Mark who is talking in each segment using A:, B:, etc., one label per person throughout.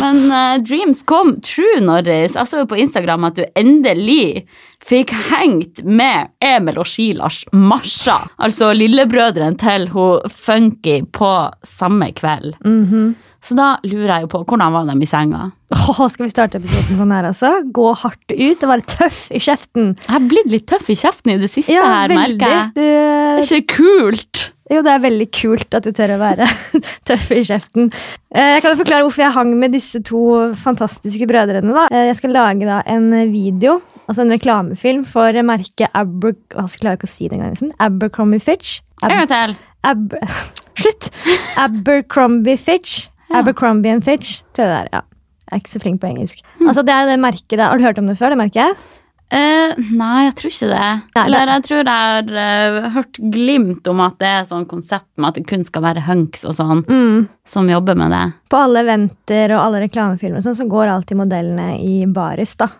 A: Men eh, dreams come true, Norris. Jeg så jo på Instagram at du endelig fikk hengt med Emil og Shilars Masha, altså lillebrødrene til hun Funky, på samme kveld.
B: Mhm.
A: Så da lurer jeg jo på hvordan var de i senga?
B: Åh, skal vi starte episoden sånn her, altså? Gå hardt ut og være tøff i kjeften.
A: Jeg har blitt litt tøff i kjeften i det siste her, merker jeg.
B: Du,
A: Det er ikke kult.
B: jo, det er veldig kult at du tør å være tøff i kjeften. Eh, Jeg kan jo forklare hvorfor jeg hang med disse to fantastiske brødrene. da. Eh, Jeg skal lage da en video, altså en reklamefilm, for merket Aber... Hva skal jeg klare ikke å si det engang? nesten. Abercrombie Fitch. Ab-
A: En gang til.
B: Ab Slutt! Abercrombie Fitch.
A: Ja.
B: Abercrombie and Fitch. Tror jeg det er, ja. Jeg er ikke så flink på engelsk.
A: Hm.
B: Altså, det er det merket der. Har du hørt om det før? det merket?
A: Eh, nei, jeg tror ikke det.
B: Nei, det-
A: Eller jeg tror jeg har eh, hørt glimt om at det er sånn konsept med at det kun skal være hunks og sånn
B: Mm.
A: som jobber med det.
B: På alle eventer og alle reklamefilmer og sånn, så går alltid modellene i baris. da.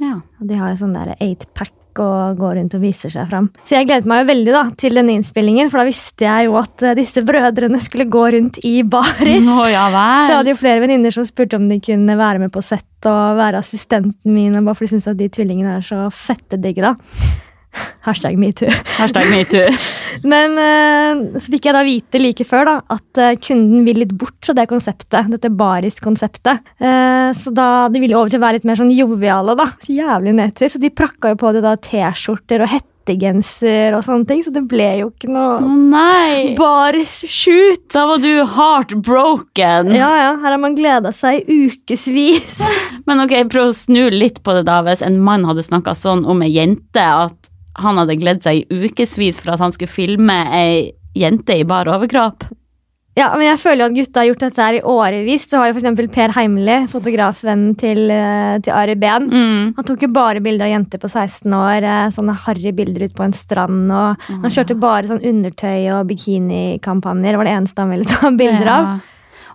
A: Ja.
B: Og de har jo sånn der eightpack og går rundt og viser seg fram. Så jeg gledet meg jo veldig da, til denne innspillingen, for da visste jeg jo at eh, disse brødrene skulle gå rundt i baris.
A: Å, ja
B: Så jeg
A: vel.
B: hadde jo flere venninner som spurte om de kunne være med på sett og være assistenten min, og bare for de syns at de tvillingene er så fette digge, da. Hashtag metoo.
A: Hashtag metoo.
B: Men eh, så fikk jeg da vite like før da, at eh, kunden vil litt bort fra det konseptet, dette baris-konseptet. Eh, så da de ville over til å være litt mer sånn joviale, da. Så Jævlig nedtur. Så de prakka jo på det da T-skjorter og hettegenser og sånne ting, så det ble jo ikke
A: Å
B: noe
A: nei!
B: baris-shoot.
A: Da var du heartbroken.
B: Ja, ja, her har man gleda seg i ukevis.
A: Men ok, prøv å snu litt på det, da. Hvis en mann hadde snakka sånn om ei jente at han hadde gledet seg i ukevis for at han skulle filme ei jente i bar overkropp.
B: Ja, men jeg føler jo at gutta har gjort dette her i årevis. Så har jo for eksempel Per Heimli, fotografvennen til, eh, til Ari Behn,
A: Mm.
B: Han tok jo bare bilder av jenter på 16 år. eh, Sånne harry bilder ut på en strand. Og han
A: Mm.
B: kjørte bare sånn undertøy- og bikinikampanjer. Det var det eneste han ville ta bilder av.
A: Ja.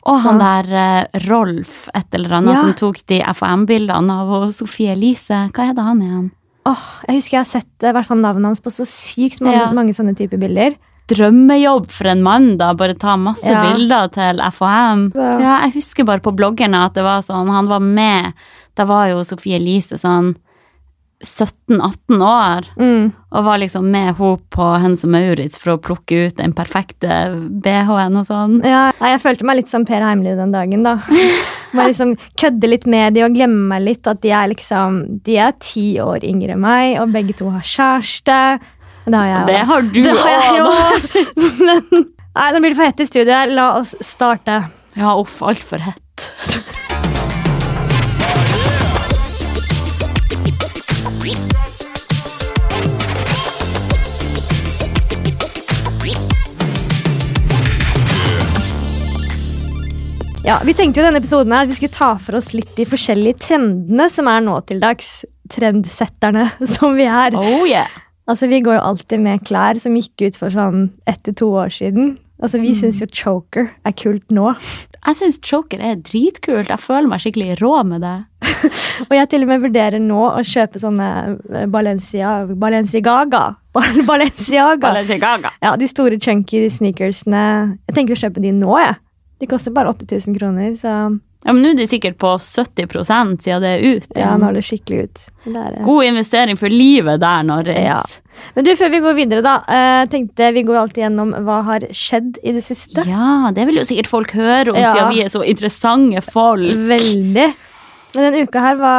A: Og han der eh, Rolf, et eller annet,
B: Ja.
A: som tok de FHM-bildene av og Sofie Elise. Hva er det han igjen?
B: Åh, jeg husker jeg har sett eh, i hvert fall navnet hans på så sykt mange,
A: Ja.
B: mange sånne typer bilder.
A: Drømmejobb for en mann, da. Bare ta masse
B: Ja.
A: bilder til FHM. Ja.
B: Ja.
A: jeg husker bare på bloggerne at det var sånn, han var med. Da var jo Sofie Elise sånn 17-18 år.
B: Mm.
A: Og var liksom med henne på Hennes og Maurits for å plukke ut den perfekte BH-en og sånn.
B: Ja, nei, jeg følte meg litt som Per Heimli den dagen, da. Må liksom kødde litt med de og glemme meg litt. At de er liksom De er ti år yngre enn meg, og begge to har kjæreste. Og Det har jeg
A: Det
B: også.
A: har du
B: Det har
A: òg, da.
B: jeg jo. Men, nei, nå blir det for hett i studio her. La oss starte.
A: Ja, uff, altfor hett.
B: Ja, Vi tenkte jo i denne episoden her at vi skulle ta for oss litt de forskjellige trendene som er nå til dags. Trendsetterne som vi er.
A: Oh yeah.
B: Altså, Vi går jo alltid med klær som gikk ut for sånn ett til to år siden. Altså, Vi syns jo choker er kult nå.
A: Jeg syns choker er dritkult. Jeg føler meg skikkelig rå med det.
B: Og jeg til og med vurderer nå å kjøpe sånne eh, Balencia, Balenciaga. Bal- Balenciaga. Ja, De store chunky sneakersene. Jeg tenker å kjøpe de nå, jeg. De koster bare 8000 kroner, så
A: Ja, men Nå er de sikkert på 70 siden det er ut.
B: ja, nå er det skikkelig ut. Det er, eh,
A: God investering for livet der, Norris.
B: Ja. Men du, før vi går videre, da. eh, tenkte Vi går jo alltid gjennom hva har skjedd i det siste.
A: Ja, det vil jo sikkert folk høre om,
B: Ja.
A: siden vi er så interessante folk.
B: Veldig. Men denne uka her, hva,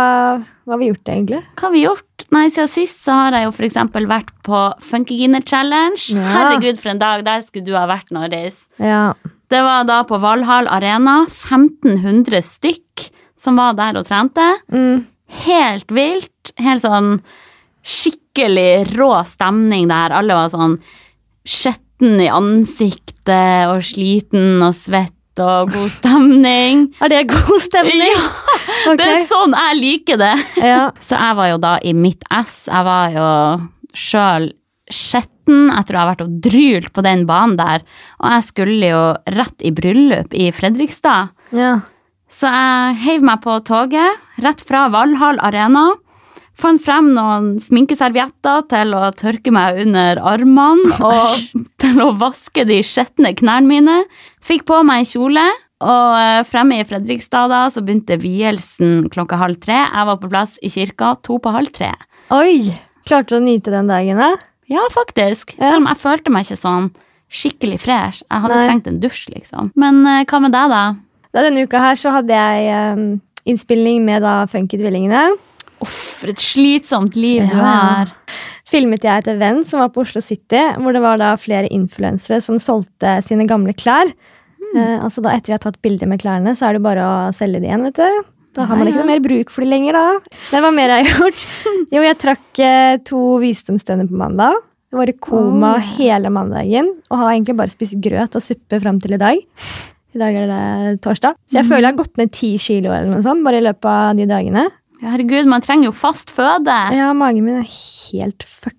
B: hva har vi gjort egentlig?
A: Hva har vi gjort? Nei, Siden sist så har jeg jo f.eks. vært på Funkyginer Challenge.
B: Ja.
A: Herregud, for en dag! Der skulle du ha vært, Norris.
B: Ja.
A: Det var da på Valhall Arena. 1500 stykk som var der og trente.
B: Mm.
A: helt vilt. Helt sånn skikkelig rå stemning der. Alle var sånn skjetten i ansiktet og sliten og svett og god stemning.
B: Er det god stemning?
A: Ja,
B: Ok.
A: det er sånn jeg liker det.
B: ja.
A: Så jeg var jo da i mitt ess. Jeg var jo sjøl skjetten. Jeg tror jeg har vært og drylt på den banen der. Og jeg skulle jo rett i bryllup i Fredrikstad.
B: ja.
A: Så jeg heiv meg på toget, rett fra Valhall Arena. Fant frem noen sminkeservietter til å tørke meg under armene og til å vaske de skjetne knærne mine. Fikk på meg en kjole, Og eh, fremme i Fredrikstad da, så begynte vielsen klokka halv tre. Jeg var på plass i kirka to på halv tre.
B: Oi! Klarte du å nyte den dagen, da?
A: Ja, faktisk. Selv om jeg følte meg ikke sånn skikkelig fresh. Jeg hadde
B: Nei.
A: trengt en dusj, liksom. Men eh, hva med deg, da?
B: Da Denne uka her så hadde jeg em, innspilling med da Funky-tvillingene.
A: Uff, for et slitsomt liv du
B: Ja.
A: har.
B: Filmet jeg et event som var på Oslo City, hvor det var da flere influensere som solgte sine gamle klær.
A: Hmm.
B: Eh, altså da Etter vi har tatt bilder med klærne, så er det bare å selge de igjen. vet du. Da har man
A: Ja,
B: ikke
A: ja.
B: noe mer bruk for de lenger, da. Det var mer jeg har gjort. Jo, jeg trakk eh, to visdomstenner på mandag. Jeg var i koma
A: Oh.
B: hele mandagen og har egentlig bare spist grøt og suppe fram til i dag. I dag er det torsdag. Så jeg
A: Mhm.
B: føler jeg har gått ned ti kilo eller noe sånt, bare i løpet av de dagene.
A: Ja, Herregud, man trenger jo fast føde.
B: Ja, magen min er helt fucka.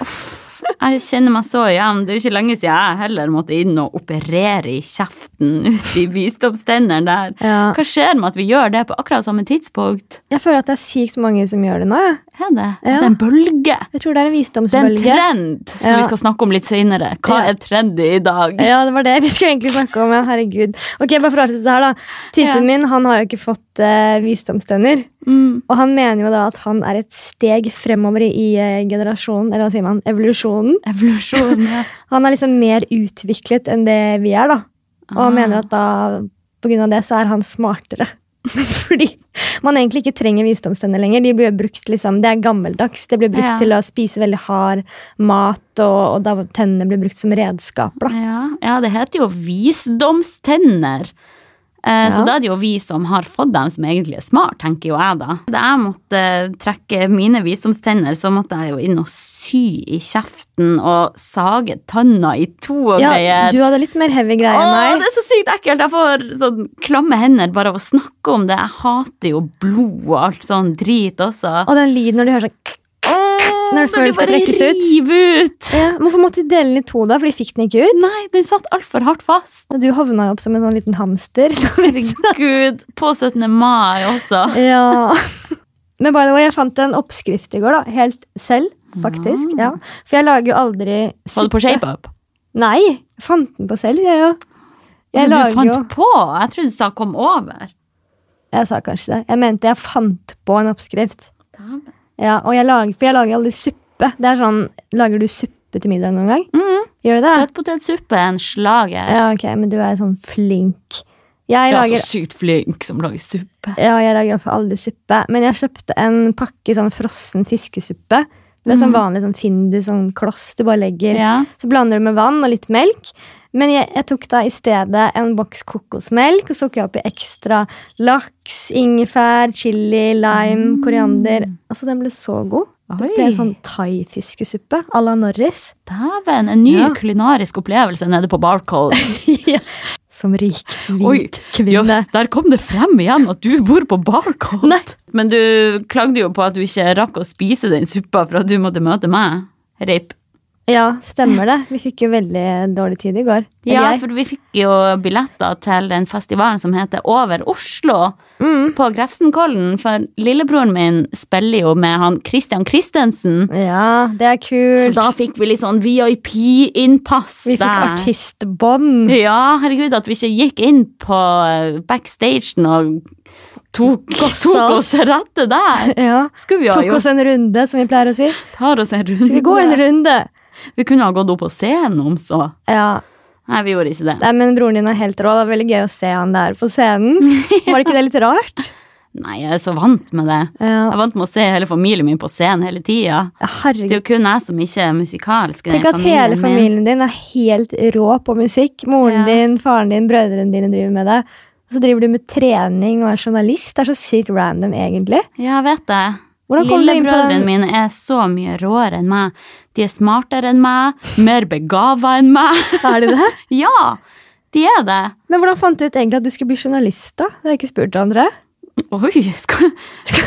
A: Uff, jeg kjenner meg så igjen. Det er jo ikke lenge siden jeg heller måtte inn og operere i kjeften ut i visdomstennene der.
B: Ja.
A: Hva skjer med at vi gjør det på akkurat samme tidspunkt?
B: Jeg føler at det er sykt mange som gjør det nå. Jeg,
A: Er det?
B: Ja.
A: Er det en bølge?
B: jeg tror det er en
A: Det er en
B: visdomsbølge.
A: trend som
B: Ja.
A: vi skal snakke om litt senere. Hva
B: Ja.
A: er trendy i dag?
B: Ja, det var det vi skulle egentlig snakke om. Ja, herregud. Ok, bare for å avslutte det her da. Typen
A: Ja.
B: min han har jo ikke fått eh, visdomstenner.
A: Mm.
B: Og han mener jo da at han er et steg fremover i eh, generasjonen, eller hva sier man, evolusjonen.
A: Evolusjon, ja.
B: Han er liksom mer utviklet enn det vi er, da. Og
A: Ah.
B: han mener at da, på grunn av det, så er han smartere. Fordi man egentlig ikke trenger visdomstenner lenger. De blir brukt liksom, Det er gammeldags. Det blir brukt
A: Ja.
B: til å spise veldig hard mat, og, og da tennene blir brukt som redskap. Da.
A: Ja, ja, det heter jo visdomstenner. Eh, Så
B: Ja.
A: da er det jo vi som har fått dem, som egentlig er smart, tenker jo jeg da. Da jeg måtte eh, trekke mine visdomstenner, så måtte jeg jo inn og sy i kjeften og sage tanna i to og
B: Ja,
A: greier.
B: du hadde litt mer heavy greier
A: Åh, det
B: enn meg.
A: er så sykt ekkelt! Jeg får sånn klamme hender bare av å snakke om det. Jeg hater jo blod og alt sånn drit også.
B: Og den lyden når du hører sånn kk. når
A: Når
B: det føles
A: du
B: skal
A: bare
B: trekkes ut.
A: river ut!
B: ja, Hvorfor måtte de dele den i to, da? For de fikk den ikke ut.
A: Nei, den satt altfor hardt fast.
B: Du havna jo opp som en sånn liten hamster.
A: Herregud. På 17. mai også.
B: Ja. Men by the way, jeg fant en oppskrift i går, da. Helt selv, faktisk. Ja. For jeg lager jo
A: Var
B: aldri
A: det Ah. på ShapeUp?
B: Nei, jeg fant den på selv, jeg jo. Jeg
A: Men
B: lager
A: du fant
B: jo
A: på? Jeg trodde du sa 'kom over'.
B: Jeg sa kanskje det. Jeg mente jeg fant på en oppskrift. Ja, og jeg lager, For jeg lager aldri suppe. Det er sånn Lager du suppe til middag noen gang?
A: Mm.
B: Gjør du det?
A: Søtpotetsuppe er en slager.
B: Ja, ok, men du er sånn flink. Jeg
A: Jeg er
B: lager
A: så sykt flink som lager suppe.
B: Ja, jeg lager iallfall aldri suppe. Men jeg kjøpte en pakke sånn frossen fiskesuppe. Det er sånn vanlig sånn Findus, sånn kloss du bare legger.
A: Mm. Ja.
B: Så blander du med vann og litt melk. Men jeg, jeg tok da i stedet en boks kokosmelk, og så tok jeg oppi ekstra laks, ingefær, chili, lime, koriander. Altså, den ble så god. Det ble
A: Mm. Oi.
B: en sånn thaifiskesuppe à la Norris.
A: Dæven, en ny
B: Ja.
A: kulinarisk opplevelse nede på Barcode.
B: Som rik,
A: Oi,
B: hvit kvinne.
A: Jøss, der kom det frem igjen at du bor på Barcode!
B: Nei.
A: Men du klagde jo på at du ikke rakk å spise den suppa for at du måtte møte meg. Reip.
B: Ja, stemmer det. Vi fikk jo veldig dårlig tid i går. Eller
A: Ja,
B: jeg.
A: for vi fikk jo billetter til den festivalen som heter Over Oslo.
B: Mm.
A: på Grefsenkollen, for lillebroren min spiller jo med han Christian Christensen.
B: ja, det er
A: Så
B: kult.
A: da fikk vi litt sånn VIP-innpass
B: Vi fikk
A: der.
B: artistbånd.
A: Ja, herregud, at vi ikke gikk inn på eh, backstagen og tok,
B: Gossa
A: tok
B: oss.
A: oss til rette der.
B: Ja.
A: Skulle vi ha
B: Tok
A: gjort.
B: oss en runde, som vi pleier å si.
A: Tar oss en runde.
B: Skal vi gå en runde?
A: Vi kunne ha gått opp på scenen om så.
B: Ja,
A: Nei, vi gjorde ikke det.
B: Nei, men Broren din er helt rå. Det var veldig gøy å se han der på scenen. Var det ikke det litt rart?
A: Nei, jeg er så vant med det. Jeg
B: Ja.
A: er vant med å se hele familien min på scenen hele tida. Det
B: Herregud.
A: er jo kun jeg som ikke er musikalsk. i den
B: Tenk at hele
A: min.
B: familien din er helt rå på musikk. Moren
A: Ja.
B: din, faren din, brødrene dine driver med det. Og så driver du med trening og er journalist. Det er så sykt random, egentlig.
A: Ja, jeg vet det.
B: Hvordan kom du inn på
A: Lillebrødrene
B: den?
A: mine er så mye råere enn meg. De er smartere enn meg, mer begava enn meg.
B: Er det det?
A: ja, de er det.
B: Men hvordan fant du ut egentlig at du skulle bli journalist, da? Det har jeg ikke spurt andre.
A: Oi, skal,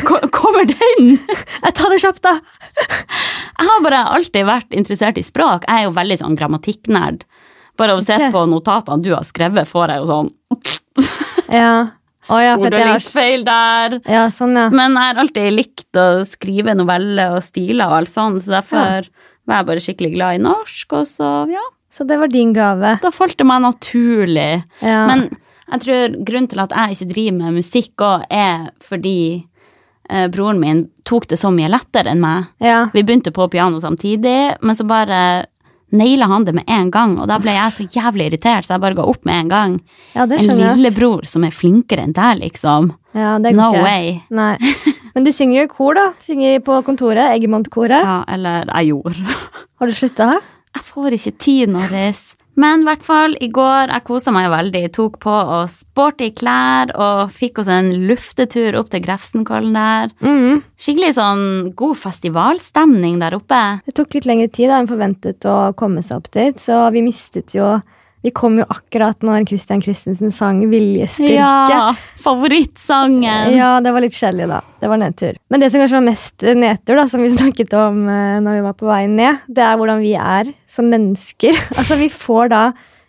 A: ko- kommer den?
B: Jeg tar det kjapt, da!
A: Jeg har bare alltid vært interessert i språk. Jeg er jo veldig sånn grammatikknerd. Bare å se
B: Ok.
A: på notatene du har skrevet, får jeg jo sånn
B: Ja. Å ja, for at jeg har
A: ordlingsfeil der.
B: Ja, sånn, ja.
A: Men jeg har alltid likt å skrive noveller og stiler og alt sånt, så derfor var jeg bare skikkelig glad i norsk, og så, ja.
B: Så det var din gave.
A: Da falt det meg naturlig.
B: Ja.
A: Men Jeg tror grunnen til at jeg ikke driver med musikk òg, er fordi eh, broren min tok det så mye lettere enn meg.
B: Ja.
A: Vi begynte på piano samtidig, men så bare naila han det med en gang, og da ble jeg så jævlig irritert, så jeg bare ga opp med en gang.
B: ja, det
A: En
B: skjønner jeg. ass.
A: lillebror som er flinkere enn deg, liksom.
B: Ja, det går
A: No
B: ikke.
A: way.
B: Nei. Men du synger jo i kor, da. Du synger på kontoret. Eggemont-koret.
A: Ja, eller jeg gjorde.
B: Har du slutta?
A: Jeg får ikke tid, Norris. Men i hvert fall, i går jeg kosa meg veldig. Tok på oss sporty klær og fikk oss en luftetur opp til Grefsenkollen der.
B: Mm.
A: Skikkelig sånn god festivalstemning der oppe.
B: Det tok litt lengre tid da, enn forventet å komme seg opp dit, så vi mistet jo Vi kom jo akkurat når Christian Christensen sang 'Viljestyrke'.
A: Ja, favorittsangen.
B: Ja, det var litt kjedelig, da. Det var nedtur. Men det som kanskje var mest eh, nedtur, da, som vi snakket om eh, når vi var på vei ned, det er hvordan vi er som mennesker. altså, vi får da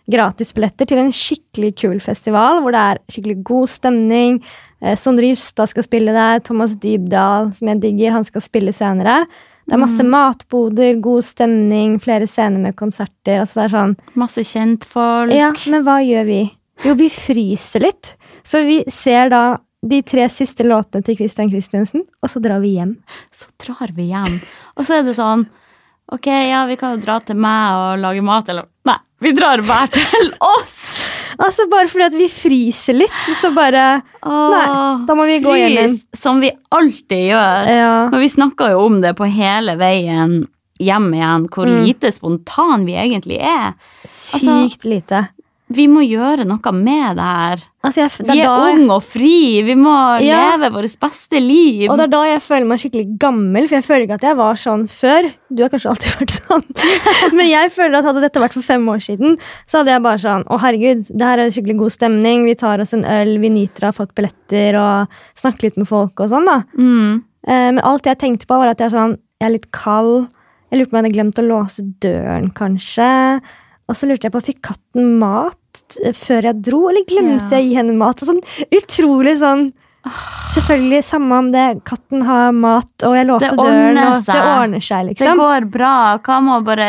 B: gratisbilletter til en skikkelig kul festival, hvor det er skikkelig god stemning. Eh, Sondre Justad skal spille der, Thomas Dybdahl, som jeg digger, han skal spille senere. Det er masse matboder, god stemning, flere scener med konserter. altså det er sånn
A: Masse kjentfolk.
B: ja, men hva gjør vi? Jo, vi fryser litt. Så vi ser da de tre siste låtene til Christian Christensen, og så drar vi hjem.
A: Så drar vi hjem. Og så er det sånn Ok, ja, vi kan jo dra til meg og lage mat, eller Nei, vi drar hver til oss!
B: Altså Bare fordi at vi fryser litt, så bare Nei, da må vi gå hjem igjen.
A: Frys, som vi alltid gjør.
B: Ja.
A: Men vi snakka jo om det på hele veien hjem igjen, hvor
B: Mm.
A: lite spontan vi egentlig er.
B: Sykt
A: Altså,
B: lite.
A: Vi må gjøre noe med det her.
B: Altså, jeg, det
A: Vi er
B: er da jeg,
A: unge og fri, vi må
B: Ja.
A: leve vårt beste liv.
B: og det er da jeg føler meg skikkelig gammel, for jeg føler ikke at jeg var sånn før. Du har kanskje alltid vært sånn, men jeg føler at hadde dette vært for fem år siden, så hadde jeg bare sånn Å, herregud, det her er skikkelig god stemning, vi tar oss en øl, vi nyter å ha fått billetter, og snakker litt med folk og sånn, da.
A: mm.
B: Eh, Men alt jeg tenkte på, var at jeg, er sånn, jeg er litt kald. Jeg lurte på om jeg hadde glemt å låse døren, kanskje. Og så lurte jeg på fikk katten mat eh, før jeg dro, eller glemte
A: Ja.
B: jeg å gi henne mat? Og sånn utrolig sånn Selvfølgelig, samme om det, katten har mat, og jeg låste
A: Det
B: døren,
A: ordner
B: og det
A: seg.
B: ordner seg,
A: Det
B: liksom.
A: går bra. Hva med å bare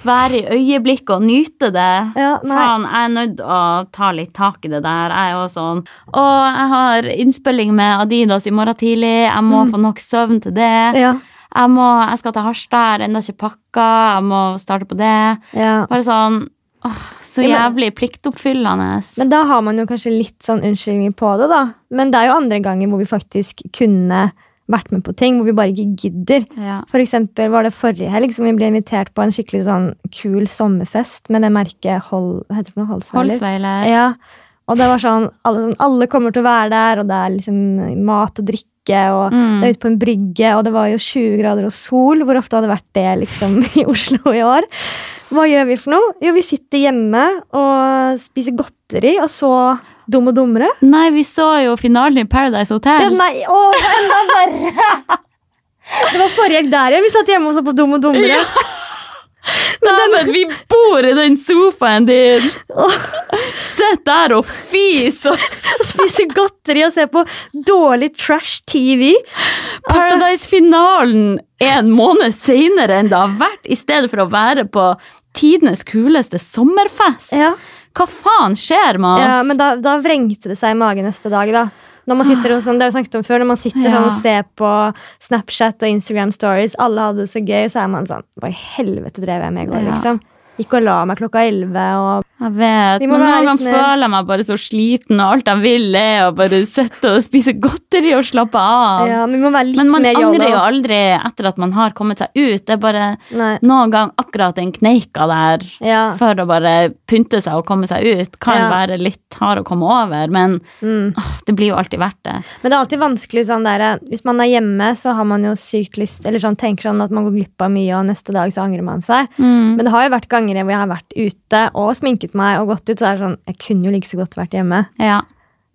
A: være i øyeblikket og nyte det?
B: Ja, nei.
A: Faen, jeg er nødt å ta litt tak i det der. Jeg er jo sånn Og jeg har innspilling med Adidas i morgen tidlig. Jeg må få nok søvn til det.
B: Mm. Ja,
A: Jeg, må, jeg skal til Harstad, jeg har ennå ikke pakka. Jeg må starte på det.
B: ja.
A: Bare sånn åh, Så
B: Ja, men-
A: jævlig pliktoppfyllende.
B: Men da har man jo kanskje litt sånn unnskyldninger på det, da. Men det er jo andre ganger hvor vi faktisk kunne vært med på ting, hvor vi bare ikke gidder.
A: Ja.
B: For eksempel var det forrige helg som vi ble invitert på en skikkelig sånn kul sommerfest med det merket Hol, hva heter det for noe? Holsveiler.
A: Holsveiler.
B: Ja. Og det var sånn alle, sånn alle kommer til å være der, og det er liksom mat og drikke, og
A: Mm.
B: det er ute på en brygge, og det var jo 20 grader og sol. Hvor ofte har det vært det liksom i Oslo i år? Hva gjør vi for noe? Jo, vi sitter hjemme og spiser godteri, og så Dum og dummere?
A: Nei, vi så jo finalen i Paradise
B: Ja,
A: Hotel.
B: nei, å, enda verre! Det var forrige helg der igjen. Vi satt hjemme og så på Dum og dummere.
A: Nei, men vi bor i den sofaen din!
B: Åh.
A: Sitt der og fis! og
B: og spise godteri og se på dårlig trash TV.
A: Altså, Paradise-finalen en måned senere enn det har vært, i stedet for å være på tidenes kuleste sommerfest.
B: Ja,
A: Hva faen skjer med oss?
B: ja Men da, da vrengte det seg i magen neste dag, da. Når man sitter og sånn, det har vi snakket om før, når man sitter
A: Ja.
B: sånn og ser på Snapchat og Instagram Stories, alle hadde det så gøy, så er man sånn Hva i helvete drev jeg med i går,
A: Ja.
B: liksom? Gikk og la meg klokka elleve og
A: Jeg vet,
B: Vi må
A: men noen
B: være litt
A: ganger
B: mer-
A: føler jeg meg bare så sliten, og alt jeg vil er å bare sitte og spise godteri og slappe av.
B: Ja, men vi må være litt
A: men man
B: mer
A: angrer jo
B: yolo.
A: aldri etter at man har kommet seg ut. Det er bare
B: Nei.
A: noen gang akkurat den kneika der
B: Ja.
A: for å bare pynte seg og komme seg ut kan
B: Ja.
A: være litt hard å komme over, men
B: Mm.
A: åh, det blir jo alltid verdt det.
B: Men det er alltid vanskelig sånn der Hvis man er hjemme, så har man jo sykt lyst Eller sånn tenker sånn at man går glipp av mye, og neste dag så angrer man seg.
A: Mm.
B: Men det har jo vært ganger hvor jeg har vært ute og sminket meg og gått ut, så er det sånn Jeg kunne jo like så godt vært hjemme.
A: Ja,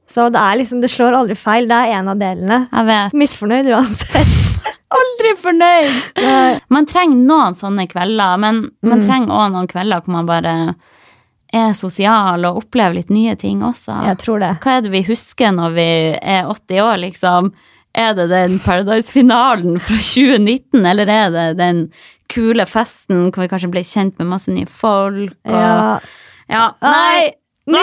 B: Så det er liksom, det slår aldri feil. Det er en av delene.
A: jeg vet.
B: Misfornøyd uansett.
A: Aldri fornøyd! Man trenger noen sånne kvelder, men man
B: Mm.
A: trenger òg noen kvelder hvor man bare er sosial og opplever litt nye ting også.
B: Jeg tror det.
A: Hva er det vi husker når vi er 80 år, liksom? Er det den Paradise-finalen fra 2019, eller er det den kule festen hvor vi kanskje ble kjent med masse nye folk? Og...
B: Ja.
A: Ja, Nei,
B: Nytt,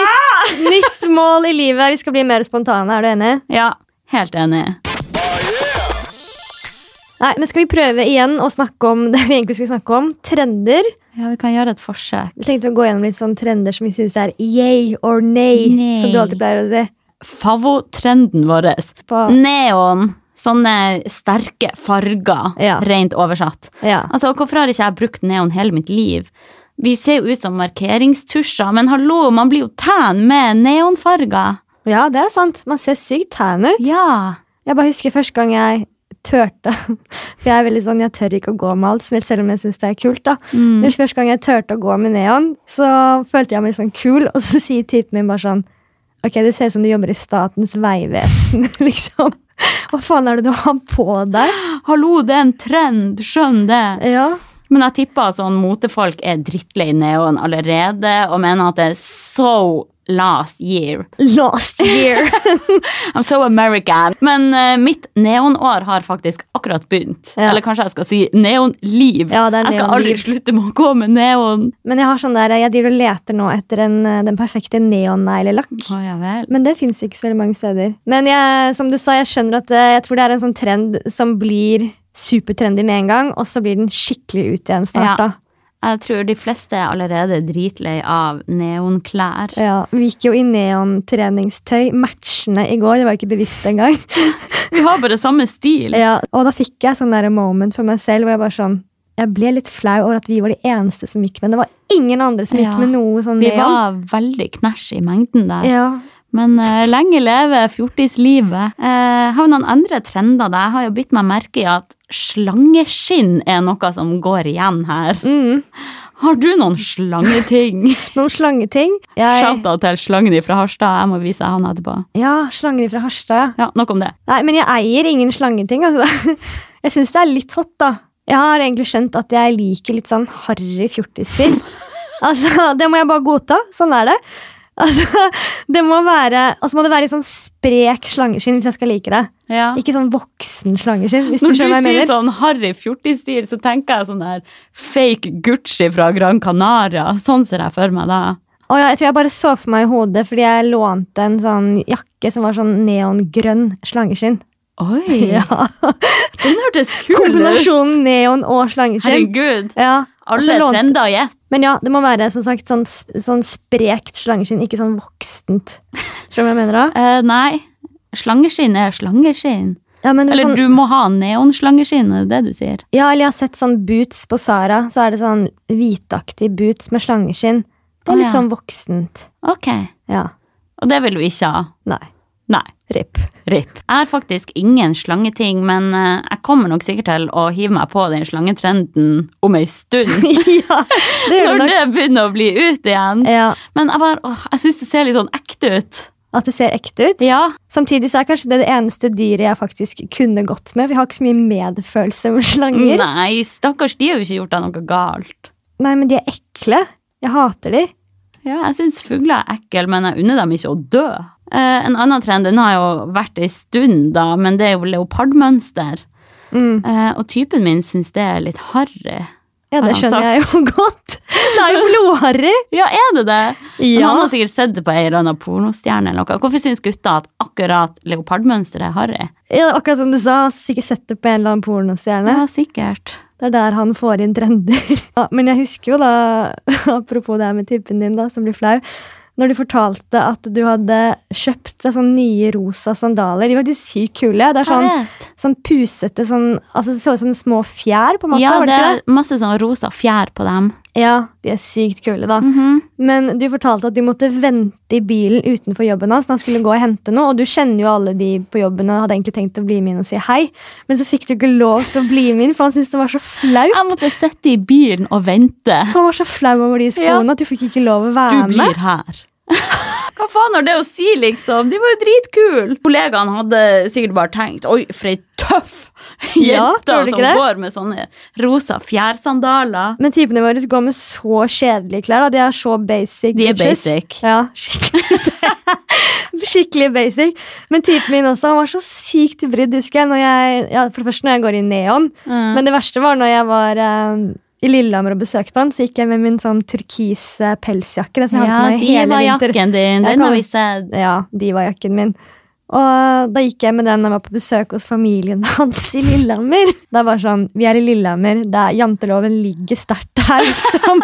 B: nytt mål i livet. Vi skal bli mer spontane. Er du enig?
A: Ja, helt enig.
B: Nei, men Skal vi prøve igjen å snakke om det vi egentlig skulle snakke om? Trender.
A: Ja, vi kan gjøre et forsøk.
B: Vi tenkte å gå gjennom litt sånn trender som vi syns er yay or nay.
A: Nei.
B: Som du alltid pleier å si.
A: Favotrenden vår.
B: På,
A: Neon. Sånne sterke farger,
B: Ja.
A: rent oversatt.
B: ja.
A: Altså, Hvorfor har ikke jeg brukt neon hele mitt liv? Vi ser jo ut som markeringstusjer, men hallo, man blir jo tan med neonfarger.
B: ja, det er sant. Man ser sykt tan ut.
A: Ja.
B: Jeg bare husker første gang jeg tørte. For jeg er veldig sånn, jeg tør ikke å gå med alt, selv- selv om jeg syns det er kult. da.
A: Mm.
B: Men første gang jeg tørte å gå med neon, så følte jeg meg litt sånn kul, og så sier typen min bare sånn Ok, det ser ut som du jobber i Statens vegvesen, liksom. Hva faen er det du har på deg?
A: Hallo, det er en trend, skjønn det.
B: Ja.
A: Men jeg tipper at sånn motefolk er drittlei neon allerede, og mener at det er so last year.
B: Last year.
A: I'm so American. Men eh, mitt neonår har faktisk akkurat begynt.
B: Ja.
A: Eller kanskje jeg skal si neonliv.
B: Ja, det er
A: jeg skal aldri
B: neonliv.
A: slutte med å gå med neon.
B: Men jeg har sånn der, jeg driver og leter nå etter en, eh, den perfekte neonneglelakk.
A: Å, ja vel.
B: Men det fins ikke så veldig mange steder. Men jeg, som du sa, jeg skjønner at eh, jeg tror det er en sånn trend som blir supertrendy med en gang, og så blir den skikkelig ut igjen
A: Ja.
B: snart. da.
A: Jeg tror de fleste er allerede dritlei av neonklær.
B: Ja, Vi gikk jo i neontreningstøy matchende i går, det var jeg ikke bevisst engang.
A: Vi har bare samme stil.
B: Ja, og da fikk jeg sånn der moment for meg selv hvor jeg bare sånn jeg ble litt flau over at vi var de eneste som gikk med Det var ingen andre som gikk
A: Ja.
B: med noe sånn
A: Vi
B: neon.
A: var veldig knæsj i mengden der.
B: Ja.
A: Men eh, lenge leve fjortislivet. Uh, har vi noen andre trender der? Jeg har jo bitt meg merke i at slangeskinn er noe som går igjen her.
B: Mm.
A: Har du noen slangeting?
B: Noen slangeting. Jeg,
A: Shout-out til slangen fra Harstad. Jeg må vise deg han etterpå.
B: ja, slangene fra Harstad.
A: Ja, Nok om det.
B: Nei, men jeg eier ingen slangeting, altså. Jeg syns det er litt hot, da. Jeg har egentlig skjønt at jeg liker litt sånn harry fjortisstil. Altså, det må jeg bare godta. Sånn er det. Altså, det må være, altså må det være litt sånn sprek slangeskinn hvis jeg skal like det. Ikke sånn voksen slangeskinn. hvis du
A: Når du
B: skjønner hva jeg mener.
A: sier sånn harry fjortisstil, så tenker jeg sånn der fake Gucci fra Gran Canaria. Sånn ser jeg for meg da.
B: Å ja, jeg tror jeg bare så for meg i hodet fordi jeg lånte en sånn jakke som var sånn neongrønn slangeskinn.
A: Oi,
B: Ja,
A: den hørtes kul ut!
B: Kombinasjonen neon og slangeskinn.
A: Herregud,
B: Ja, og så
A: alle
B: lånte-
A: trender i ett.
B: Men ja, det må være som sagt sånn, s- sånn sprekt slangeskinn, ikke sånn voksent. Skjønner du hva jeg mener da?
A: Eh, nei, slangeskinn er slangeskinn.
B: Ja, men det er
A: Eller
B: sånn,
A: du må ha neonslangeskinn, er det det du sier?
B: ja, eller jeg har sett sånn boots på Sara, så er det sånn hvitaktig boots med slangeskinn. Det
A: Å
B: er litt
A: ja.
B: sånn voksent.
A: Ok,
B: Ja,
A: og det vil du ikke ha.
B: nei,
A: Nei.
B: ripp.
A: Rip. Jeg har faktisk ingen slangeting, men eh, jeg kommer nok sikkert til å hive meg på den slangetrenden om ei stund.
B: ja, det gjør
A: Når
B: det nok.
A: det begynner å bli ut igjen.
B: Ja,
A: Men jeg, bare, åh, jeg syns det ser litt sånn ekte ut.
B: at det ser ekte ut.
A: Ja.
B: Samtidig så er kanskje det det eneste dyret jeg faktisk kunne gått med. Vi har ikke så mye medfølelse med slanger. Nei,
A: Mm, Nei, stakkars, de har jo ikke gjort deg noe galt.
B: men de er ekle. Jeg hater de.
A: Ja, jeg syns fugler er ekle, men jeg unner dem ikke å dø. Eh, en annen trend, den har jo vært ei stund, da, men det er jo leopardmønster.
B: Mm.
A: Eh, og typen min syns det er litt harry.
B: Ja,
A: Har han
B: det skjønner jeg jo godt. Det er jo blodharry.
A: Ja, er det det? Men
B: Ja.
A: han har sikkert sett det på ei eller annen pornostjerne. eller noe. Hvorfor syns gutta at akkurat leopardmønsteret er harry?
B: ja, akkurat som du sa, han har sikkert sett det på en eller annen pornostjerne.
A: Ja, sikkert.
B: Det er der han får inn trender. Ja, men jeg husker jo da, apropos det her med typen din da, som blir flau, når du fortalte at du hadde kjøpt deg sånne nye rosa sandaler. De var faktisk sykt kule. Det er sånn,
A: Jeg vet.
B: sånn pusete sånn Altså, det så ut som små fjær, på en måte.
A: Ja,
B: var
A: det
B: det ikke
A: er masse sånn rosa fjær på dem.
B: det? Ja, de er sykt kule, da.
A: Mhm.
B: Men du fortalte at du måtte vente i bilen utenfor jobben hans når han skulle gå og hente noe, og du kjenner jo alle de på jobben og hadde egentlig tenkt å bli med inn og si hei, men så fikk du ikke lov til å bli med inn, for han syntes det var så flaut.
A: Jeg måtte sitte i bilen og vente.
B: Han var så flau over de skoene at du fikk ikke lov å
A: Du
B: være med.
A: blir her. Hva faen har det å si, liksom? De var jo dritkule! Kollegaene hadde sikkert bare tenkt Oi, for ei tøff jente
B: Ja, tror
A: som
B: du ikke det?
A: går med sånne rosa fjærsandaler.
B: Men typene våre går med så kjedelige klær. Da. De er så basic.
A: De er
B: bitches.
A: basic.
B: Ja, skikkelig, skikkelig basic. Men typen min også, han var så sykt brydd, husker jeg. Når jeg ja, for det første når jeg går i neon,
A: Mm.
B: Men det verste var når jeg var eh, i Lillehammer og besøkte han, så gikk jeg med min sånn turkise pelsjakke. Det som jeg
A: Ja,
B: hadde med i
A: de
B: hele
A: var
B: vinter.
A: jakken din.
B: Jeg
A: Den har
B: kan-
A: vi sett.
B: Ja, de var jakken min. Og eh, da gikk jeg med den da jeg var på besøk hos familien hans i Lillehammer. Det er bare sånn, Vi er i Lillehammer, det er, janteloven ligger sterkt her, liksom.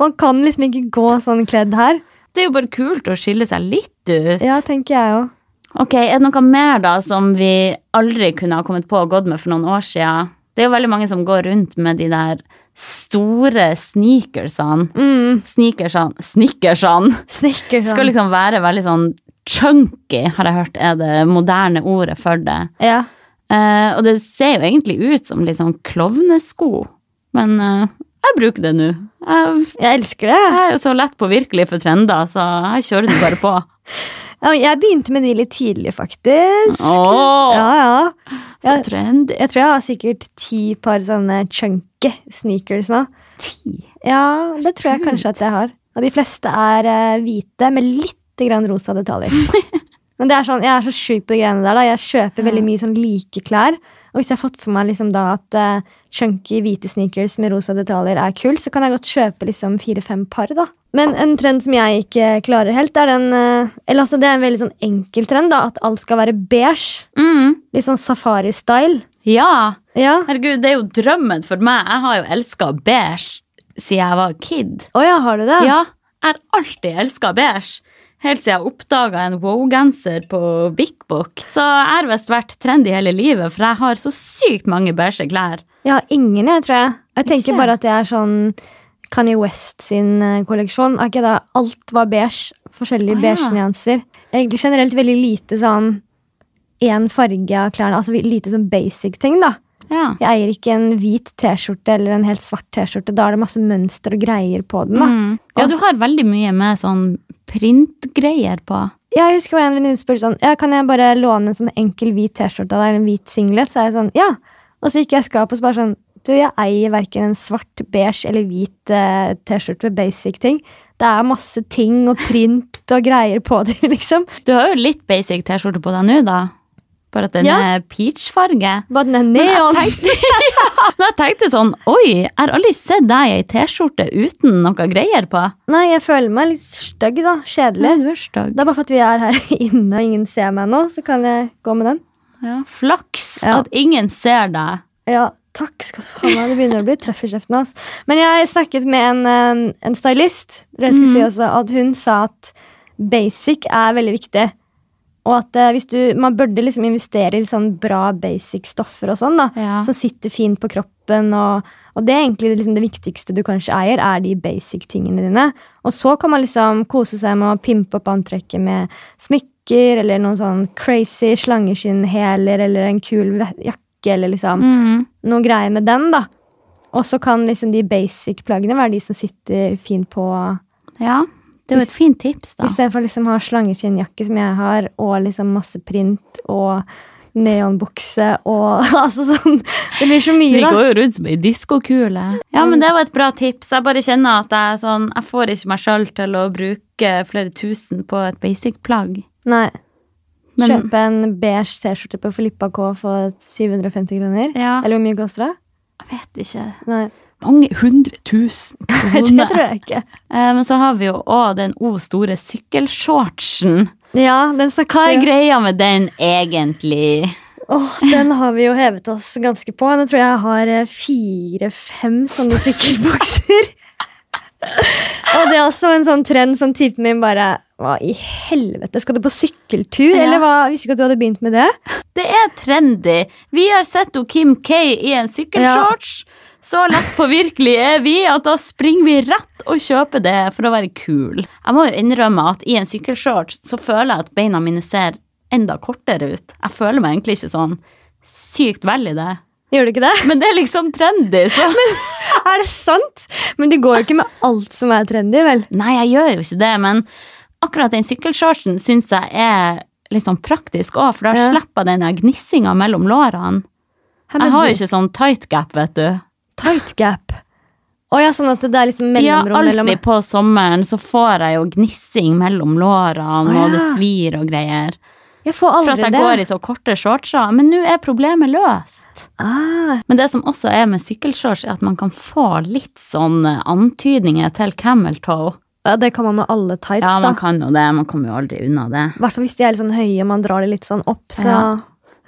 B: Man kan liksom ikke gå sånn kledd her.
A: Det er jo bare kult å skille seg litt ut.
B: Ja, tenker jeg òg.
A: Ok, Er det noe mer da som vi aldri kunne ha kommet på og gått med for noen år siden? Det er jo veldig mange som går rundt med de der store sneakersene.
B: Mm,
A: Sneakersene Sneakersene!
B: snikker sånn.
A: Skal liksom være veldig sånn chunky, har jeg hørt er det moderne ordet for det.
B: ja.
A: Eh, og det ser jo egentlig ut som litt sånn klovnesko, men eh, jeg bruker det nå. Jeg,
B: Jeg elsker det.
A: jeg er jo så lett påvirkelig for trender, så jeg kjører det bare på.
B: Ja, men Jeg begynte med de litt tidlig, faktisk.
A: Åh,
B: Ja, ja.
A: så
B: jeg-
A: trendy.
B: Jeg tror jeg har sikkert ti par sånne chunky sneakers nå.
A: Eh, Ti.
B: Ja, det tror jeg kanskje at jeg har. Og de fleste er eh, hvite med litt grann rosa detaljer. Men det er sånn, jeg er så sjuk på de greiene der. da. Jeg kjøper veldig mye sånn like klær. Og hvis jeg har fått for meg liksom da at eh, chunky hvite sneakers med rosa detaljer er kult, så kan jeg godt kjøpe liksom fire-fem par. da. Men en trend som jeg ikke klarer helt, er den eh, Eller altså, det er en veldig sånn enkel trend, da. At alt skal være beige.
A: Mm.
B: Litt sånn safari-style.
A: Ja,
B: Ja.
A: herregud, det er jo drømmen for meg. Jeg har jo elska beige siden jeg var kid.
B: Å ja, har du det?
A: Ja, jeg har alltid elska beige. Helt siden jeg oppdaga en wow-genser på Bik Bok. Så jeg har visst vært trendy hele livet, for jeg har så sykt mange beige klær.
B: Jeg har ingen, jeg, tror jeg. Jeg tenker
A: Ikke?
B: bare at det er sånn Kanye West sin eh, kolleksjon. Er ikke det alt var beige? Forskjellige
A: Å, ja.
B: beige nyanser. Egentlig generelt veldig lite sånn én farge av klærne. Altså lite sånn basic ting, da.
A: Ja.
B: Jeg eier ikke en hvit T-skjorte eller en helt svart T-skjorte. Da er det masse mønster og greier på den, da.
A: Mm. ja, du har veldig mye med sånn printgreier på.
B: Jeg husker bare en venninne spurte sånn ja, Kan jeg bare låne en sånn enkel hvit T-skjorte av deg, eller en hvit singlet? Så er jeg sånn, ja. Og så gikk jeg i skapet og så bare sånn Du, jeg eier verken en svart, beige eller hvit eh, T-skjorte med basic ting. Det er masse ting og print og greier på det, liksom.
A: Du har jo litt basic T-skjorte på deg nå, da. Bare at den
B: Ja.
A: er peachfarge.
B: Bare den
A: jeg
B: er neon.
A: tenkte, Men jeg tenkte sånn, oi, jeg har aldri sett deg i ei T-skjorte uten noe greier på.
B: Nei, jeg føler meg litt stygg, da. Kjedelig.
A: Du er stygg.
B: Det er bare for at vi er her inne og ingen ser meg nå, så kan jeg gå med den.
A: Ja, flaks
B: Ja.
A: at ingen ser deg.
B: Ja, takk skal du ha. Det begynner å bli tøff i kjeften hans. Men jeg snakket med en, eh, en stylist, og jeg skulle si også at hun sa at basic er veldig viktig. Og at eh, hvis du, man burde liksom investere i sånn bra basic-stoffer og sånn, da,
A: Ja.
B: som sitter fint på kroppen. og... Og det er egentlig liksom det viktigste du kanskje eier, er de basic-tingene dine. Og så kan man liksom kose seg med å pimpe opp antrekket med smykker, eller noen sånn crazy slangeskinnhæler, eller en kul ve- jakke, eller liksom
A: Mm.
B: noe greier med den, da. Og så kan liksom de basic-plaggene være de som sitter fint på,
A: Ja, det er jo et fint tips, da.
B: istedenfor liksom å ha slangeskinnjakke, som jeg har, og liksom masse print og neonbukse og altså sånn Det blir så mye,
A: Vi
B: da.
A: går jo rundt som ei diskokule. Ja, men det var et bra tips. Jeg bare kjenner at jeg, er sånn, jeg får ikke meg sjøl til å bruke flere tusen på et basic-plagg.
B: Nei.
A: Men-
B: Kjøpe en beige T-skjorte på Filippa K for 750 kroner.
A: Ja.
B: Eller hvor mye koster det?
A: Jeg vet ikke.
B: Nei,
A: Mange hundre tusen
B: det
A: kroner.
B: tror jeg ikke.
A: Eh, Men så har vi jo òg den o store sykkelshortsen.
B: Ja, den snakket
A: Hva er
B: jeg-
A: greia med den egentlig?
B: Åh, den har vi jo hevet oss ganske på. Nå tror jeg jeg har eh, fire-fem sånne sykkelbukser. Og det er også en sånn trend som typen min bare Hva i helvete, skal du på sykkeltur?
A: Ja.
B: Eller hva? Visste ikke at du hadde begynt med det.
A: Det er trendy. Vi har sett jo Kim K i en sykkelshorts. Så lett påvirkelig er vi at da springer vi rett og kjøper det for å være kul. Jeg må jo innrømme at i en sykkelshorts så føler jeg at beina mine ser enda kortere ut. Jeg føler meg egentlig ikke sånn sykt vel i det.
B: Gjør du ikke det?
A: Men det er liksom trendy, så
B: Er det sant? Men du går jo ikke med alt som er trendy, vel?
A: Nei, jeg gjør jo ikke det, men akkurat den sykkelshortsen syns jeg er litt sånn praktisk òg, for da
B: Ja.
A: slipper jeg den der gnissinga mellom lårene.
B: Hæ, men
A: Jeg har
B: du-
A: jo ikke sånn tight gap, vet du.
B: Tight gap. Å ja, sånn at det er liksom
A: Ja,
B: mellomrom mellom
A: alltid på sommeren så får jeg jo gnissing mellom lårene,
B: Å,
A: og det
B: ja.
A: svir og greier.
B: Jeg får
A: For at
B: aldri
A: jeg
B: det.
A: går i så korte shortser. Men nå er problemet løst.
B: Ah,
A: Men det som også er med sykkelshorts, er at man kan få litt sånn antydninger til camel toe.
B: ja, det kan man med alle tights,
A: Ja, man
B: da.
A: kan jo det. Man kommer jo aldri unna det.
B: I hvert fall hvis de er litt sånn høye, man drar de litt sånn opp, så
A: Ja.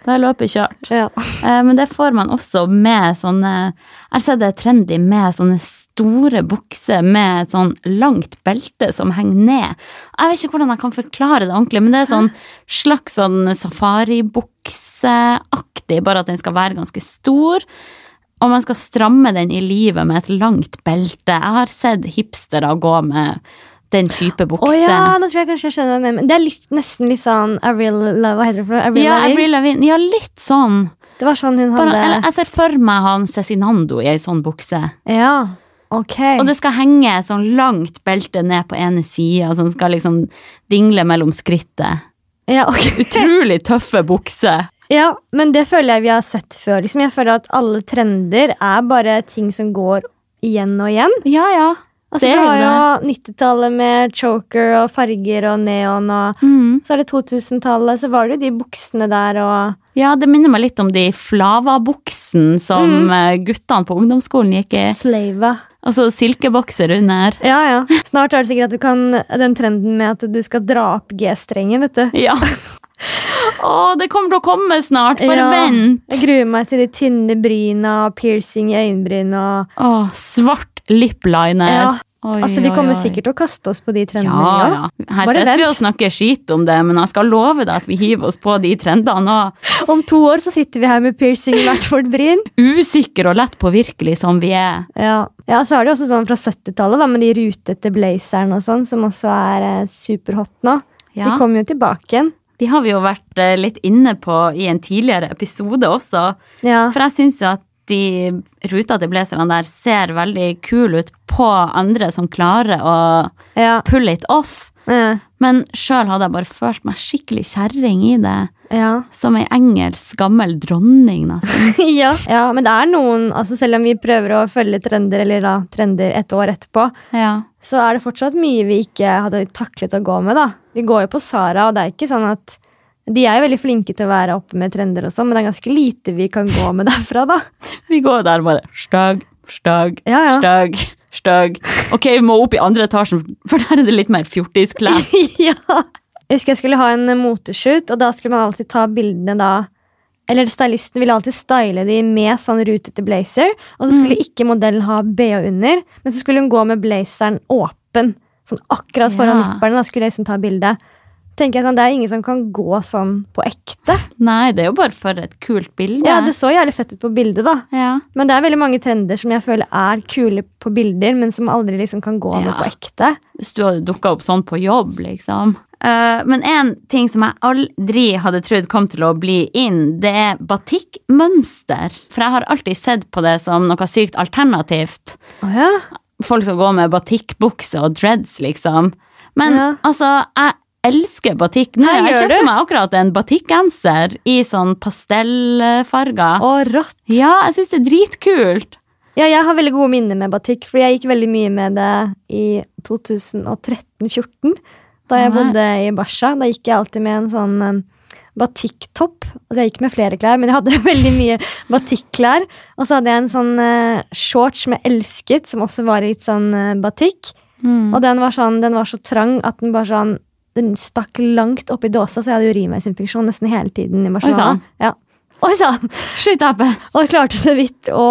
A: Da er løpet kjørt.
B: ja.
A: Eh, Men det får man også med sånne Jeg ser det er trendy med sånne store bukser med et sånn langt belte som henger ned. Jeg vet ikke hvordan jeg kan forklare det ordentlig, men det er sånn slags sånn safaribukseaktig, bare at den skal være ganske stor. Og man skal stramme den i livet med et langt belte. Jeg har sett hipstere gå med den type
B: Å
A: bukse.
B: ja, nå tror jeg kanskje jeg skjønner hva du mener. Men Det er litt, nesten litt sånn Avril Love, hva heter det for noe? Avril
A: Ja,
B: Lavigne?
A: Avril Lavigne. Ja, litt sånn.
B: Det var sånn hun
A: Bare,
B: hadde
A: eller, jeg ser for meg han Cezinando i ei sånn bukse.
B: Ja, ok.
A: Og det skal henge et sånn langt belte ned på ene sida, som skal liksom dingle mellom skrittet.
B: Ja, ok.
A: Utrolig tøffe bukser.
B: ja, men det føler jeg vi har sett før. Liksom. Jeg føler at alle trender er bare ting som går igjen og igjen.
A: Ja, ja.
B: Altså,
A: Det
B: du har
A: er
B: jo 90-tallet med choker og farger og neon, og
A: Mm.
B: så er det 2000-tallet, så var det jo de buksene der og
A: Ja, det minner meg litt om de flava-buksene som
B: Mm.
A: eh, guttene på ungdomsskolen gikk i.
B: Flava.
A: Altså silkebokser under.
B: Ja, ja. Snart er det sikkert at du kan den trenden med at du skal dra opp G-strengen, vet du.
A: Ja. Å, det kommer til å komme snart. Bare
B: Ja.
A: vent.
B: Jeg gruer meg til de tynne bryna og piercing i øyenbryn og
A: Å, svart lipliner.
B: Ja.
A: Oi,
B: Altså, vi
A: oi,
B: kommer
A: oi.
B: sikkert til å kaste oss på de trendene.
A: Ja,
B: ja.
A: ja. Her
B: Bare
A: sitter vi
B: vent.
A: og snakker skit om det, men jeg skal love deg at vi hiver oss på de trendene. Og
B: Om to år så sitter vi her med piercing i hvert vårt bryn.
A: usikre og lett påvirkelige som vi er.
B: Ja. ja, så er det jo også sånn fra 70-tallet, da, med de rutete blazerne og sånn, som også er eh, superhot nå.
A: Ja.
B: De kommer jo tilbake igjen.
A: De har vi jo vært eh, litt inne på i en tidligere episode også.
B: Ja.
A: For jeg syns jo at de rutete blazerne der ser veldig kule ut på andre som klarer å
B: Ja.
A: pull it off.
B: eh,
A: Men sjøl hadde jeg bare følt meg skikkelig kjerring i det.
B: ja.
A: Som ei engelsk gammel dronning, altså. nesten.
B: ja. ja, men det er noen altså Selv om vi prøver å følge trender, eller da trender et år etterpå,
A: Ja.
B: så er det fortsatt mye vi ikke hadde taklet å gå med, da. Vi går jo på Sara, og det er ikke sånn at De er jo veldig flinke til å være oppe med trender og sånn, men det er ganske lite vi kan gå med derfra, da.
A: Vi går der og bare Støg, støg,
B: Ja, ja.
A: støg, støg. Ok, vi må opp i andre etasjen, for der er det litt mer fjortisklær.
B: ja. Jeg husker jeg skulle ha en eh, moteshoot, og da skulle man alltid ta bildene da Eller stylisten ville alltid style de med sånn rutete blazer, og så skulle ikke modellen ha BH under, men så skulle hun gå med blazeren åpen, sånn akkurat foran
A: Ja.
B: nipperne, da skulle jeg liksom ta bilde. Tenker jeg sånn, Det er ingen som kan gå sånn på ekte.
A: Nei, det er jo bare for et kult bilde.
B: Ja, Det så jævlig fett ut på bildet, da.
A: Ja.
B: Men det er veldig mange trender som jeg føler er kule på bilder, men som aldri liksom kan gå med
A: Ja.
B: på ekte.
A: Hvis du hadde dukka opp sånn på jobb, liksom. Eh, men én ting som jeg aldri hadde trodd kom til å bli inn, det er batikkmønster. For jeg har alltid sett på det som noe sykt alternativt.
B: Å ja.
A: folk som går med batikkbukse og dreads, liksom. Men
B: Ja.
A: altså, jeg elsker batikk. Nå,
B: Ja,
A: jeg
B: gjør
A: kjøpte
B: du?
A: meg akkurat en batikkgenser i sånn pastellfarger.
B: Og rått.
A: Ja, jeg syns det er dritkult.
B: Ja, jeg har veldig gode minner med batikk, fordi jeg gikk veldig mye med det i 2013-14, da jeg
A: Nei.
B: bodde i Basha. Da gikk jeg alltid med en sånn um, batikktopp. Altså, jeg gikk med flere klær, men jeg hadde veldig mye batikklær. Og så hadde jeg en sånn eh, shorts med 'elsket', som også var i et sånn eh, batikk. Og den var, sånn, den var så trang at den bare sånn den stakk langt opp i dåsa, så jeg hadde urinveisinfeksjon nesten hele tiden i Barcelona.
A: sann.
B: Ja. Oi sann!
A: Shit happens.
B: Og klarte så vidt å,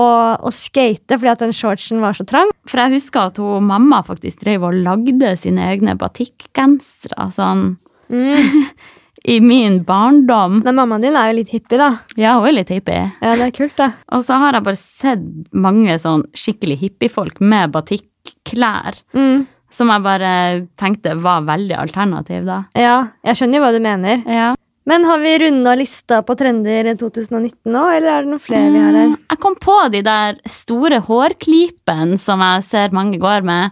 B: å skate fordi at den shortsen var så trang.
A: For jeg husker at hun, mamma faktisk drev og lagde sine egne batikkgensere sånn
B: Mm.
A: i min barndom.
B: Men mammaen din er jo litt hippie, da.
A: Ja, hun er litt hippie.
B: Ja, det er kult, da.
A: Og så har jeg bare sett mange sånn skikkelig hippiefolk med batikklær.
B: Mm.
A: Som jeg bare tenkte var veldig alternativ, da.
B: Ja, jeg skjønner jo hva du mener.
A: Ja.
B: Men har vi runda lista på trender 2019 nå, eller er det noen flere vi har her?
A: Mm, Jeg kom på de der store hårklypene som jeg ser mange går med.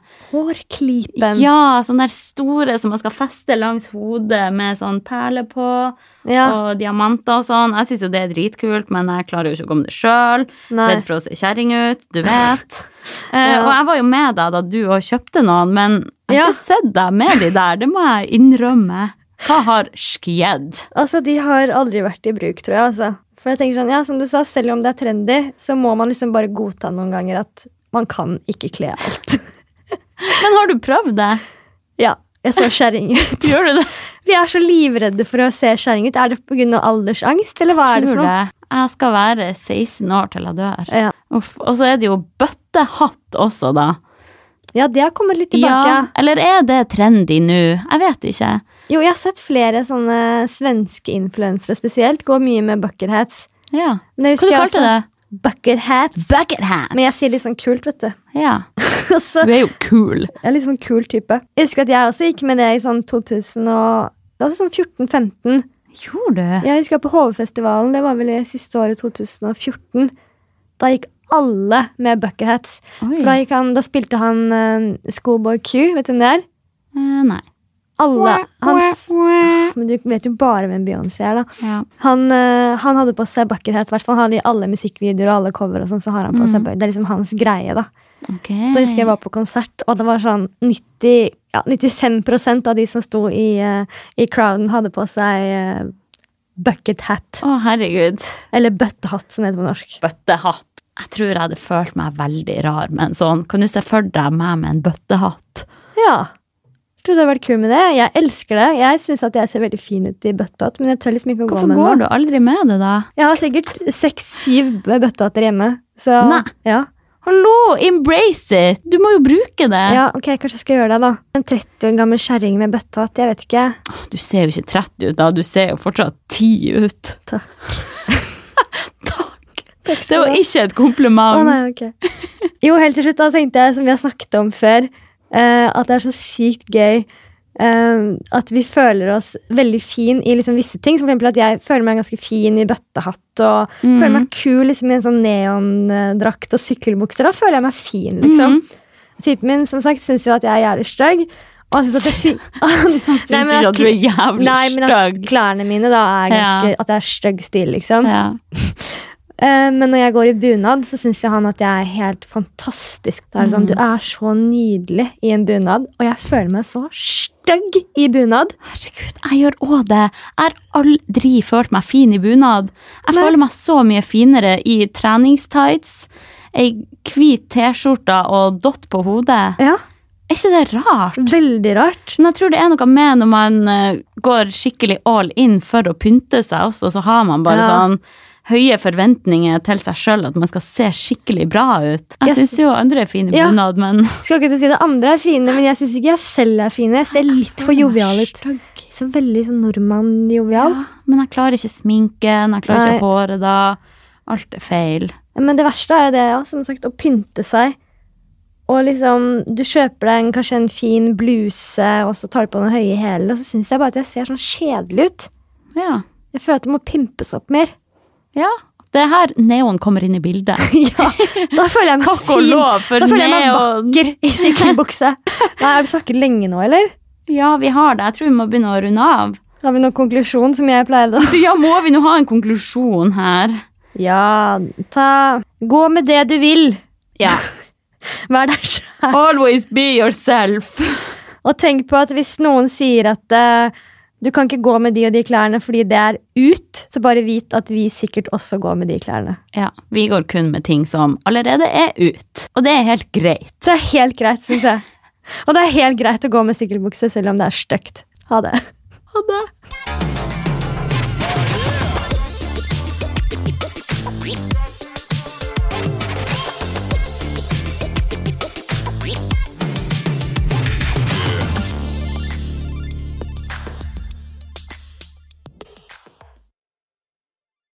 B: Hårklypen.
A: Ja, sånne der store som man skal feste langs hodet med sånn perle på,
B: Ja.
A: og diamanter og sånn. Jeg syns jo det er dritkult, men jeg klarer jo ikke å komme det sjøl.
B: Nei.
A: Redd for å se kjerring ut, du vet. Eh,
B: Ja.
A: og jeg var jo med deg da du òg kjøpte noen, men jeg har ikke
B: Ja.
A: sett deg med de der, det må jeg innrømme. Hva har skjedd?
B: Altså, De har aldri vært i bruk, tror jeg. altså. For jeg tenker sånn, ja, Som du sa, selv om det er trendy, så må man liksom bare godta noen ganger at man kan ikke kle alt.
A: Men har du prøvd det?
B: ja, jeg så kjerring ut.
A: Gjør du det?
B: Vi er så livredde for å se kjerring ut. Er det pga. aldersangst, eller hva er det for noe?
A: Jeg skal være 16 år til jeg dør.
B: Ja.
A: Uff, og så er det jo bøttehatt også, da.
B: Ja, det har kommet litt tilbake.
A: Ja, eller er det trendy nå? Jeg vet ikke.
B: Jo, jeg har sett flere sånne svenske influensere spesielt gå mye med bucket hats.
A: Ja.
B: Men
A: Hva
B: jeg
A: du
B: husker jeg
A: kalte du
B: også-
A: det?
B: Bucket hat.
A: Bucket hats.
B: Men jeg sier litt sånn kult, vet du.
A: Ja.
B: Og så
A: Du er jo kul.
B: Jeg er litt sånn kul type. Jeg husker at jeg også gikk med det i sånn 2000 og det var sånn 14-15.
A: Gjorde du?
B: Jeg husker på HV-festivalen, det var vel i siste året 2014. Da gikk alle med bucket hats. For da,
A: Oi.
B: gikk han, da spilte han eh, Schoolboy Q, vet du hvem det er?
A: Eh, Nei.
B: Alle. Hans
A: Ja.
B: Men du vet jo bare hvem Beyoncé er, da. Han, eh, han hadde på seg bucket hat, i hvert fall han i alle musikkvideoer og alle cover og sånn, så har han
A: Mm.
B: på seg bu- Det er liksom hans greie, da.
A: Ok.
B: Da
A: Mm.
B: husker jeg var på konsert, og det var sånn 90, ja, 95 av de som sto i, eh, i crowden, hadde på seg eh, bucket hat.
A: Å, herregud.
B: Eller bøttehatt, som det heter på norsk.
A: Bøttehatt. Jeg tror jeg hadde følt meg veldig rar med en sånn. Kan du se for deg meg med en bøttehatt?
B: Ja. Jeg tror det hadde vært kult med det. Jeg elsker det. Jeg syns at jeg ser veldig fin ut i bøttehatt, men jeg tør liksom ikke å gå
A: Hvorfor
B: med
A: går
B: den. nå.
A: du aldri med det, da?
B: Jeg har sikkert seks-syv bøttehatter hjemme. Så
A: Nei.
B: ja.
A: Hallo, embrace it! Du må jo bruke det.
B: ja, ok, kanskje jeg skal gjøre det, da. En 30 år gammel kjerring med bøttehatt, jeg vet ikke.
A: Du ser jo ikke 30 ut, da. Du ser jo fortsatt 10 ut.
B: Takk.
A: Takk.
B: Takk
A: Det
B: skal du
A: var
B: ha.
A: ikke sånn. et
B: Å
A: kompliment.
B: nei, ok. Jo, helt til slutt da tenkte jeg, som vi har snakket om før, eh, at det er så sykt gøy eh, at vi føler oss veldig fin i liksom visse ting. Som for eksempel at jeg føler meg ganske fin i bøttehatt og
A: Mhm.
B: føler meg kul liksom, i en sånn neondrakt og sykkelbukser. Da føler jeg meg fin, liksom.
A: Mhm.
B: Typen min som sagt, syns jo at jeg er jævlig stygg. Og han syns at det er fint.
A: Jeg syns ikke at du er jævlig
B: Nei, men at
A: stygg.
B: klærne mine da er ganske,
A: Ja.
B: at jeg er stygg stil, liksom.
A: Ja.
B: Eh, Men når jeg går i bunad, så syns jo han at jeg er helt fantastisk. Da
A: Mm.
B: er det sånn, Du er så nydelig i en bunad, og jeg føler meg så stygg i bunad.
A: Herregud, jeg gjør òg det. Jeg har aldri følt meg fin i bunad. Jeg
B: Nei.
A: føler meg så mye finere i treningstights, ei hvit T-skjorte og dott på hodet.
B: Ja,
A: Er ikke det rart?
B: Veldig rart.
A: Men jeg tror det er noe med når man eh, går skikkelig all in for å pynte seg også, så har man bare
B: Ja.
A: sånn høye forventninger til seg sjøl, at man skal se skikkelig bra ut. Jeg
B: Yes.
A: syns jo andre er fine i
B: Ja.
A: bunad, men
B: Skal ikke til å si det andre er fine, men jeg syns ikke jeg selv er fine. Jeg ser litt for jovial ut. Så veldig sånn nordmann-jovial.
A: Ja, men jeg klarer ikke sminken, jeg klarer
B: Nei.
A: ikke håret da. Alt er feil.
B: Men det verste er jo det, ja, som sagt, å pynte seg. Og liksom, Du kjøper deg en, kanskje en fin bluse, og så tar du på den høye hælen, og så syns jeg bare at jeg ser sånn kjedelig ut.
A: Ja.
B: Jeg føler at det må pimpes opp mer.
A: ja. Det er her neon kommer inn i bildet.
B: ja, da føler jeg meg
A: Takk og
B: fin.
A: lov for
B: Da føler jeg meg
A: neon!
B: vakker i sykkelbukse. Nei, Har vi snakket lenge nå, eller?
A: Ja, vi har det. Jeg tror vi må begynne å runde av.
B: Har vi noen konklusjon, som jeg pleide?
A: Du, Ja, må vi nå ha en konklusjon her?
B: Ja, ta Gå med det du vil.
A: Ja.
B: Vær deg sjæl.
A: Always be yourself.
B: Og tenk på at hvis noen sier at eh, du kan ikke gå med de og de klærne fordi det er ut, så bare vit at vi sikkert også går med de klærne.
A: Ja, vi går kun med ting som allerede er ut. Og det er helt greit.
B: Det er helt greit, syns jeg. Og det er helt greit å gå med sykkelbukse selv om det er stygt. Ha det.
A: Ha det.